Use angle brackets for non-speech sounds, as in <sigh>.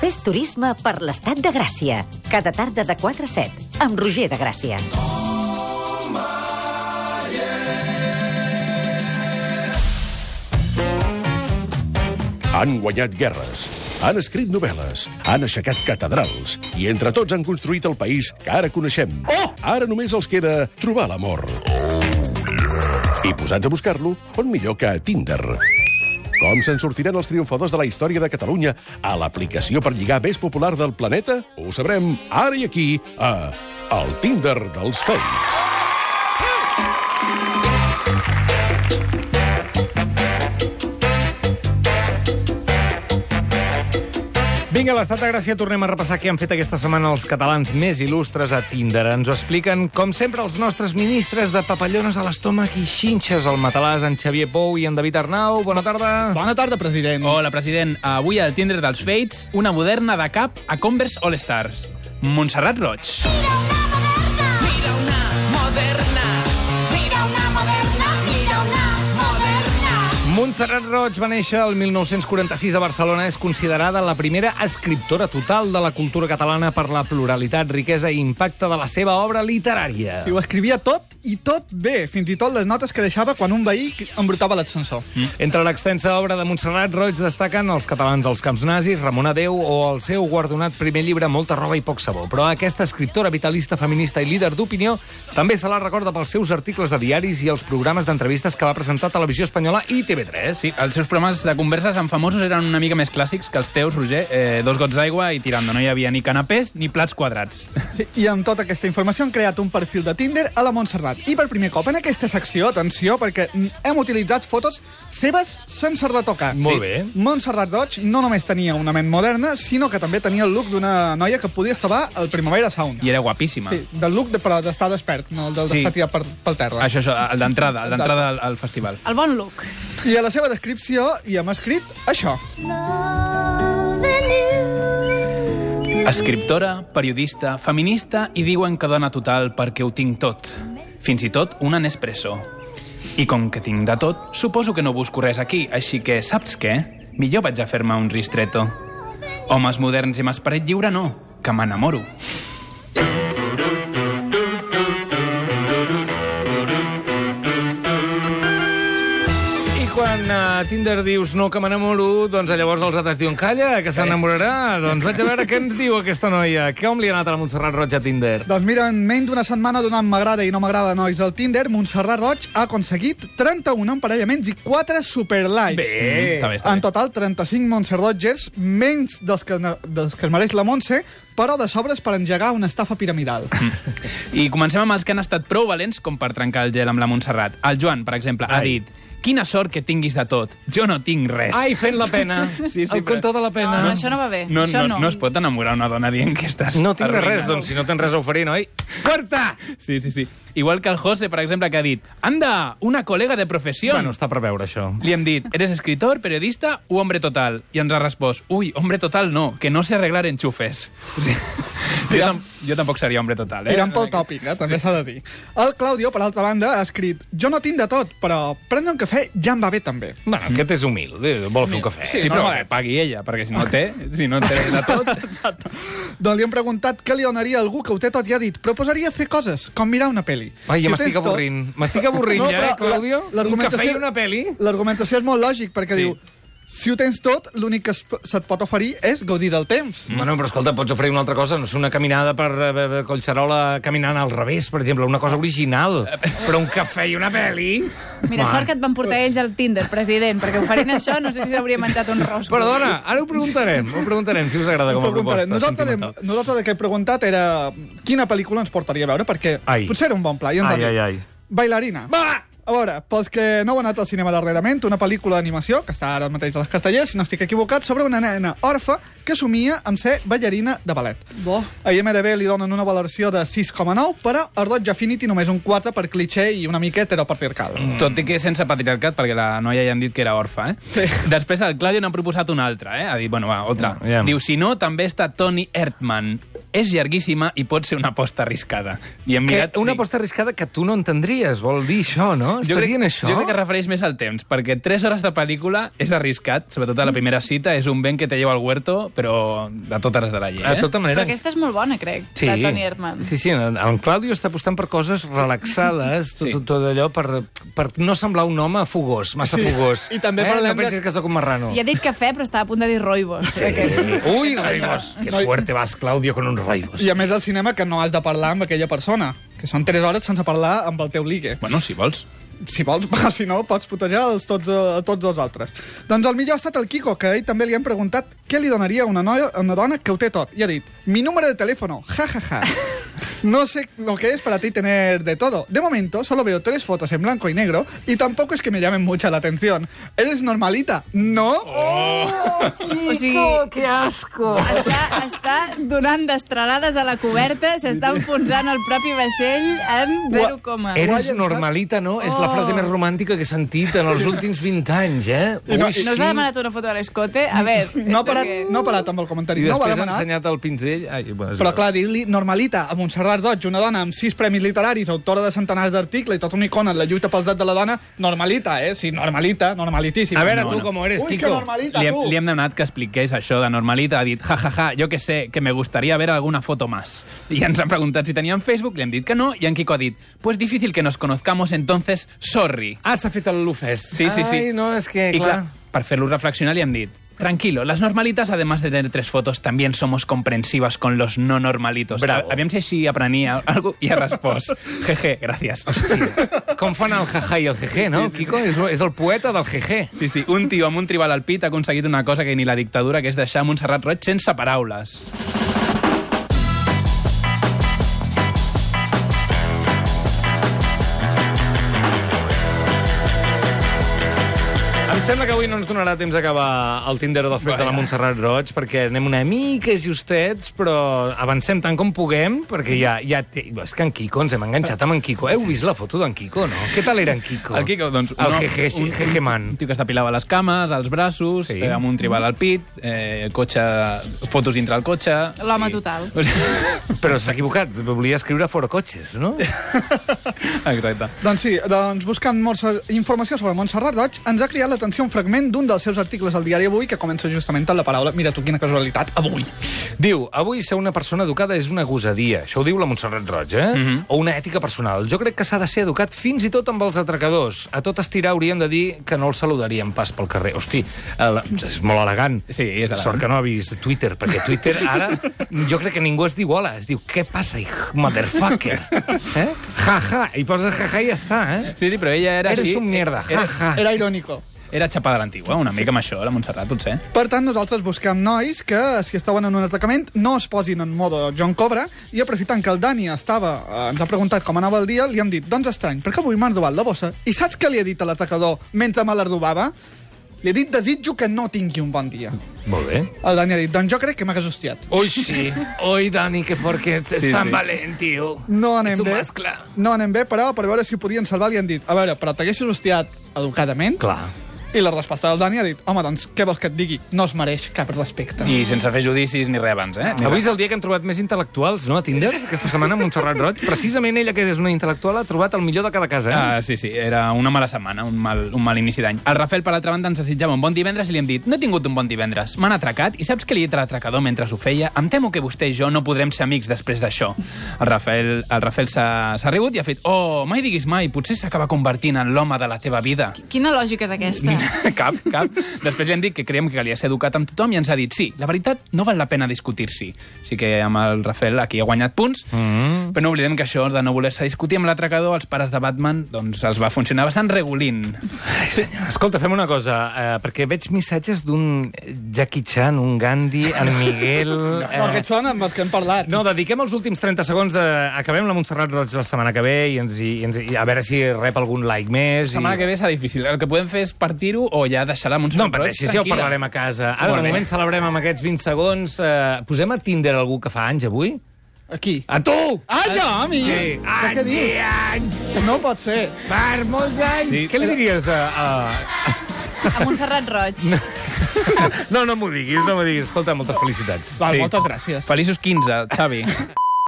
Fes turisme per l'estat de Gràcia. Cada tarda de 4 a 7, amb Roger de Gràcia. Han guanyat guerres, han escrit novel·les, han aixecat catedrals i entre tots han construït el país que ara coneixem. Ara només els queda trobar l'amor. I posats a buscar-lo, on millor que a Tinder. Com se'n sortiran els triomfadors de la història de Catalunya a l'aplicació per lligar més popular del planeta? Ho sabrem ara i aquí, a El Tinder dels Fakes. Vinga, a l'estat de Gràcia tornem a repassar què han fet aquesta setmana els catalans més il·lustres a Tinder. Ens ho expliquen, com sempre, els nostres ministres de papallones a l'estómac i xinxes al matalàs, en Xavier Pou i en David Arnau. Bona tarda. Bona tarda, president. Hola, president. Avui al Tinder dels Fates, una moderna de cap a Converse All-Stars. Montserrat Roig. Mira una moderna. Mira una moderna. Mira una moderna. Montserrat Roig va néixer el 1946 a Barcelona. És considerada la primera escriptora total de la cultura catalana per la pluralitat, riquesa i impacte de la seva obra literària. Sí, ho escrivia tot i tot bé, fins i tot les notes que deixava quan un veí embrutava l'ascensor. Entre l'extensa obra de Montserrat Roig destaquen Els catalans als camps nazis, Ramon Adeu o el seu guardonat primer llibre Molta roba i poc sabó. Però aquesta escriptora vitalista, feminista i líder d'opinió també se la recorda pels seus articles de diaris i els programes d'entrevistes que va presentar a Televisió Espanyola i TV3. Sí, els seus programes de converses amb famosos eren una mica més clàssics que els teus, Roger. Eh, dos gots d'aigua i tirando. No hi havia ni canapés ni plats quadrats. Sí, I amb tota aquesta informació han creat un perfil de Tinder a la Montserrat. I per primer cop en aquesta secció, atenció, perquè mm, hem utilitzat fotos seves sense retocar. Molt bé. Montserrat Roig no només tenia una ment moderna, sinó que també tenia el look d'una noia que podia acabar al Primavera Sound. I era guapíssima. Sí, del look de, però d'estar despert, no el del Sí. d'estar tirat per, pel terra. Això, això, el d'entrada, el d'entrada al, al festival. El bon look. I a la seva descripció hi hem escrit això. Escriptora, periodista, feminista i diuen que dona total perquè ho tinc tot. Fins i tot una Nespresso. I com que tinc de tot, suposo que no busco res aquí, així que, saps què? Millor vaig a fer-me un ristretto. Homes moderns i amb esperit lliure no, que m'enamoro. I quan eh, a Tinder dius no, que m'enamoro, doncs llavors els altres diuen calla, que s'enamorarà. Doncs vaig a veure què ens diu aquesta noia. Com li ha anat a la Montserrat Roig a Tinder? Doncs mira, en menys d'una setmana donant m'agrada i no m'agrada nois al Tinder, Montserrat Roig ha aconseguit 31 emparellaments i 4 superlikes. Eh. Bé. Mm. Mm, Està bé, està En bé. total, 35 Montserrat Rogers, menys dels que, dels que es mereix la Montse, però de sobres per engegar una estafa piramidal. Mm. <laughs> I comencem amb els que han estat prou valents com per trencar el gel amb la Montserrat. El Joan, per exemple, ha Ai. dit Quina sort que tinguis de tot. Jo no tinc res. Ai, fent la pena. Sí, sí, el però- conte de la pena. No, no, això no va bé. No, això no, no, no es pot enamorar una dona dient que estàs No tinc de arruïnada. res, doncs si no tens res a oferir, noi. Corta! Sí, sí, sí. Igual que el José, per exemple, que ha dit Anda, una col·lega de professió. Bueno, està per veure, això. Li hem dit, eres escritor, periodista o hombre total? I ens ha respost, ui, hombre total no, que no sé arreglar enxufes. O sigui, jo, tam jo tampoc seria hombre total, eh? Tirant pel tòpic, eh? també s'ha de dir. El Claudio, per altra banda, ha escrit Jo no tinc de tot, però prendre un cafè ja em va bé també. Bueno, aquest és humil, eh, vol fer un cafè. Sí, sí però eh. que pagui ella, perquè si no té, si no té de tot... Doncs li hem preguntat què li donaria a algú que ho té tot i ha dit proposaria fer coses, com mirar una pel·li. Ai, ja ho m'estic tens tot- avorrint. M'estic avorrint ja, eh, però Claudio? la- Un l'argumentació- cafè i una peli? L'argumentació és molt lògic, perquè Sí. diu... Si ho tens tot, l'únic que es po- se't pot oferir és gaudir del temps. Bueno, però escolta, pots oferir una altra cosa, no sé, una caminada per eh, Collserola caminant al revés, per exemple, una cosa original. Però un cafè i una peli... Mira, Va. sort que et van portar ells al Tinder, president, perquè oferint això no sé si s'hauria menjat un rosco. Perdona, ara ho preguntarem, ho preguntarem si us agrada com a proposta. Preguntarem. Nosaltres, hem, sentimental. nosaltres el que hem preguntat era quina pel·lícula ens portaria a veure, perquè Ai. potser era un bon pla. I ens Ai, ha dit, ai, ai. Bailarina. Va! A veure, pels que no heu anat al cinema darrerament, una pel·lícula d'animació, que està ara mateix a les castellers, si no estic equivocat, sobre una nena orfa que somia amb ser ballarina de ballet. Bo. A IMDB li donen una valoració de 6,9, però a Rodge Affinity només un 4 per cliché i una mica heteropatriarcal. Tot i que sense patriarcat, perquè la noia ja han dit que era orfa, eh? Sí. Després el Claudio n'ha proposat una altra, eh? Ha dit, bueno, va, altra. Ja, ja. Diu, si no, també està Tony Erdman. És llarguíssima i pot ser una aposta arriscada. I hem Que mirat... una sí. aposta arriscada que tu no entendries, vol dir això, no? Està Jo crec, dient això? jo crec que es refereix més al temps, perquè 3 hores de pel·lícula és arriscat, sobretot a la primera cita, és un vent que te lleva al huerto, però de totes les de la llei. De Eh? tota Però manera... aquesta és molt bona, crec, Sí. la Toni Herman. Sí, sí, en, en Claudio està apostant per coses relaxades, Sí. sí. tot, tot allò, per, per no semblar un home fogós, massa sí. fogós. I també eh? No parlem pensis de- que sóc un marrano. Eh, Ja he dit cafè, però estava a punt de dir roibos. Sí. Ui, Raibos, que fuerte vas, Claudio, con un Raibos. I a més al cinema que no has de parlar amb aquella persona, que són 3 hores sense parlar amb el teu ligue. Bueno, si vols. Si vols, <laughs> va, si no, pots putejar els tots, eh, tots els altres. Doncs el millor ha estat el Kiko, que a ell també li han preguntat què li donaria a una, noia, a una dona que ho té tot. I ha dit, mi número de teléfono, ja, ja, ja. No sé lo que es para ti tener de todo. De momento, solo veo tres fotos en blanco y negro y tampoco es que me llamen mucha la atención. ¿Eres normalita? ¿No? O sigui, que asco! està, està donant destralades a la coberta, s'està enfonsant el propi vaixell en 0, coma. Eres normalita, no? És la Oh. frase més romàntica que he sentit en els últims 20 anys, eh? I no- Ui, No us ha demanat una foto de l'escote? A veure... No ha és parat, que- no ha parat amb el comentari. I No ho va després ha demanar. ensenyat el pinzell... Ai, bueno, és Però igual. clar, dir-li normalita a Montserrat Roig, una dona amb sis premis literaris, autora de centenars d'articles i tota una icona en la lluita pels drets de la dona, normalita, eh? Sí, normalita, normalitíssima. A veure, No, tu, no. com eres, Ui, que Kiko. normalita, Li hem, tu! li hem demanat que expliqués això de normalita. Ha dit, ja, ja, ja, jo que sé, que me gustaría ver alguna foto más. I ens han preguntat si teníem Facebook, li hem dit que no, i en Kiko ha dit, pues difícil que nos conozcamos, entonces, sorry. Ah, s'ha fet el l'ofès. Sí, sí, sí. Ai, no, és que, I clar, clar... per fer-lo reflexionar li hem dit Tranquilo, las normalitas, además de tener tres fotos, también somos comprensivas con los no normalitos. Bravo. A- Aviam si així aprenia algo i ha respost. <laughs> Jeje, gràcies. Hòstia, com fan el jaja i el jeje, no? Sí, sí, Kiko és, és el poeta del jeje. Sí, sí, un tio amb un tribal al pit ha aconseguit una cosa que ni la dictadura, que és deixar Montserrat Roig sense paraules. Em sembla que avui no ens donarà temps d'acabar el Tinder dels fets de la Montserrat Roig, perquè anem una mica justets, però avancem tant com puguem, perquè ja... ja té... És que en Kiko, ens hem enganxat amb en Kiko. Heu vist la foto d'en Kiko, no? Què tal era en Kiko? El Kiko, doncs... El home, jeje, sí, un- jeje man. Un tio que es depilava les cames, els braços, Sí. sí. eh, amb un tribal al pit, eh, cotxe, fotos dintre el cotxe... L'home total. O sigui, Però s'ha equivocat, volia escriure fora cotxes, no? <laughs> <laughs> Exacte. Doncs sí, doncs buscant molta informació sobre Montserrat Roig, ens ha criat l'atenció un fragment d'un dels seus articles al diari Avui que comença justament amb la paraula «Mira tu, quina casualitat, avui». Diu, avui ser una persona educada és una gosadia. Això ho diu la Montserrat Roig, eh? Mhm. O una ètica personal. Jo crec que s'ha de ser educat fins i tot amb els atracadors. A tot estirar hauríem de dir que no els saludaríem pas pel carrer. Hosti, el... és molt elegant. Sí, és elegant. Sort que no ha vist Twitter, perquè Twitter ara jo crec que ningú es diu hola. Es diu, què passa, hij- motherfucker? Eh? Ja, ja. I poses ja, ja i ja està, eh? Sí, sí, però ella era Eres així... eh, un mierda, ja, Era, ja. Era irònico. era xapada a l'antigua, una mica amb això, la Montserrat, potser. Per tant, nosaltres busquem nois que, si estaven en un atacament, no es posin en modo John Cobra i aprofitant que el Dani estava, eh, ens ha preguntat com anava el dia, li hem dit, doncs estrany, perquè avui m'han robat la bossa i saps què li he dit a l'atacador mentre me la robava? Li he dit, desitjo que no tingui un bon dia. Molt bé. El Dani ha dit, doncs jo crec que m'hagués hostiat. Ui, sí. Ui, Dani, que fort que ets. Sí, Sí, tan sí. valent, tio. No anem ets un bé. mascle. No anem bé, però per veure si ho podien salvar li han dit, a veure, però t'haguessis hostiat educadament? Clar. I la resposta del Dani ha dit, home, doncs què vols que et digui? No es mereix cap respecte. I sense fer judicis ni res abans, eh? Ni Avui és res. el dia que hem trobat més intel·lectuals, no, a Tinder? Aquesta setmana, Montserrat Roig. Precisament ella, que és una intel·lectual, ha trobat el millor de cada casa. Eh? Ah, sí, sí, era una mala setmana, un mal, un mal inici d'any. El Rafel, per altra banda, ens desitjava un bon divendres i li hem dit no he tingut un bon divendres, m'han atracat i saps que li he dit a l'atracador mentre ho feia? Em temo que vostè i jo no podrem ser amics després d'això. El Rafel, el Rafel s'ha s'ha rigut i ha fet oh, mai diguis mai, potser s'acaba convertint en l'home de la teva vida. Quina lògica és aquesta? <laughs> cap, cap. Després li hem dit que creiem que calia ser educat amb tothom i ens ha dit sí, la veritat no val la pena discutir-s'hi. Així que amb el Rafel aquí ha guanyat punts, Mm-hmm. mm. però no oblidem que això de no voler-se discutir amb l'atracador, els pares de Batman, doncs els va funcionar bastant regulint. Ai, senyor. Ah, Escolta, fem una cosa, eh, perquè veig missatges d'un Jackie Chan, un Gandhi, <laughs> el Miguel... Eh... No, aquests són amb els que hem parlat. No, dediquem els últims 30 segons de... Acabem la Montserrat Roig la setmana que ve i, ens, i, ens, i a veure si rep algun like més. La setmana i... que ve serà difícil. El que podem fer és partir-ho o ja deixar-la amb un No em pateixis, ja ho parlarem a casa. Ara, Molt de bé. moment, celebrem amb aquests 20 segons. Eh, posem a Tinder algú que fa anys, avui? Aquí. A tu! Ah, jo, a mi? Sí. Ah, Anys Però què i dius? anys! No pot ser. Per molts anys! Sí. Què li diries a... a... A Montserrat Roig. No, no m'ho diguis, no m'ho diguis. Escolta, moltes felicitats. Val, Sí. <laughs> Moltes gràcies. Feliços 15, Xavi.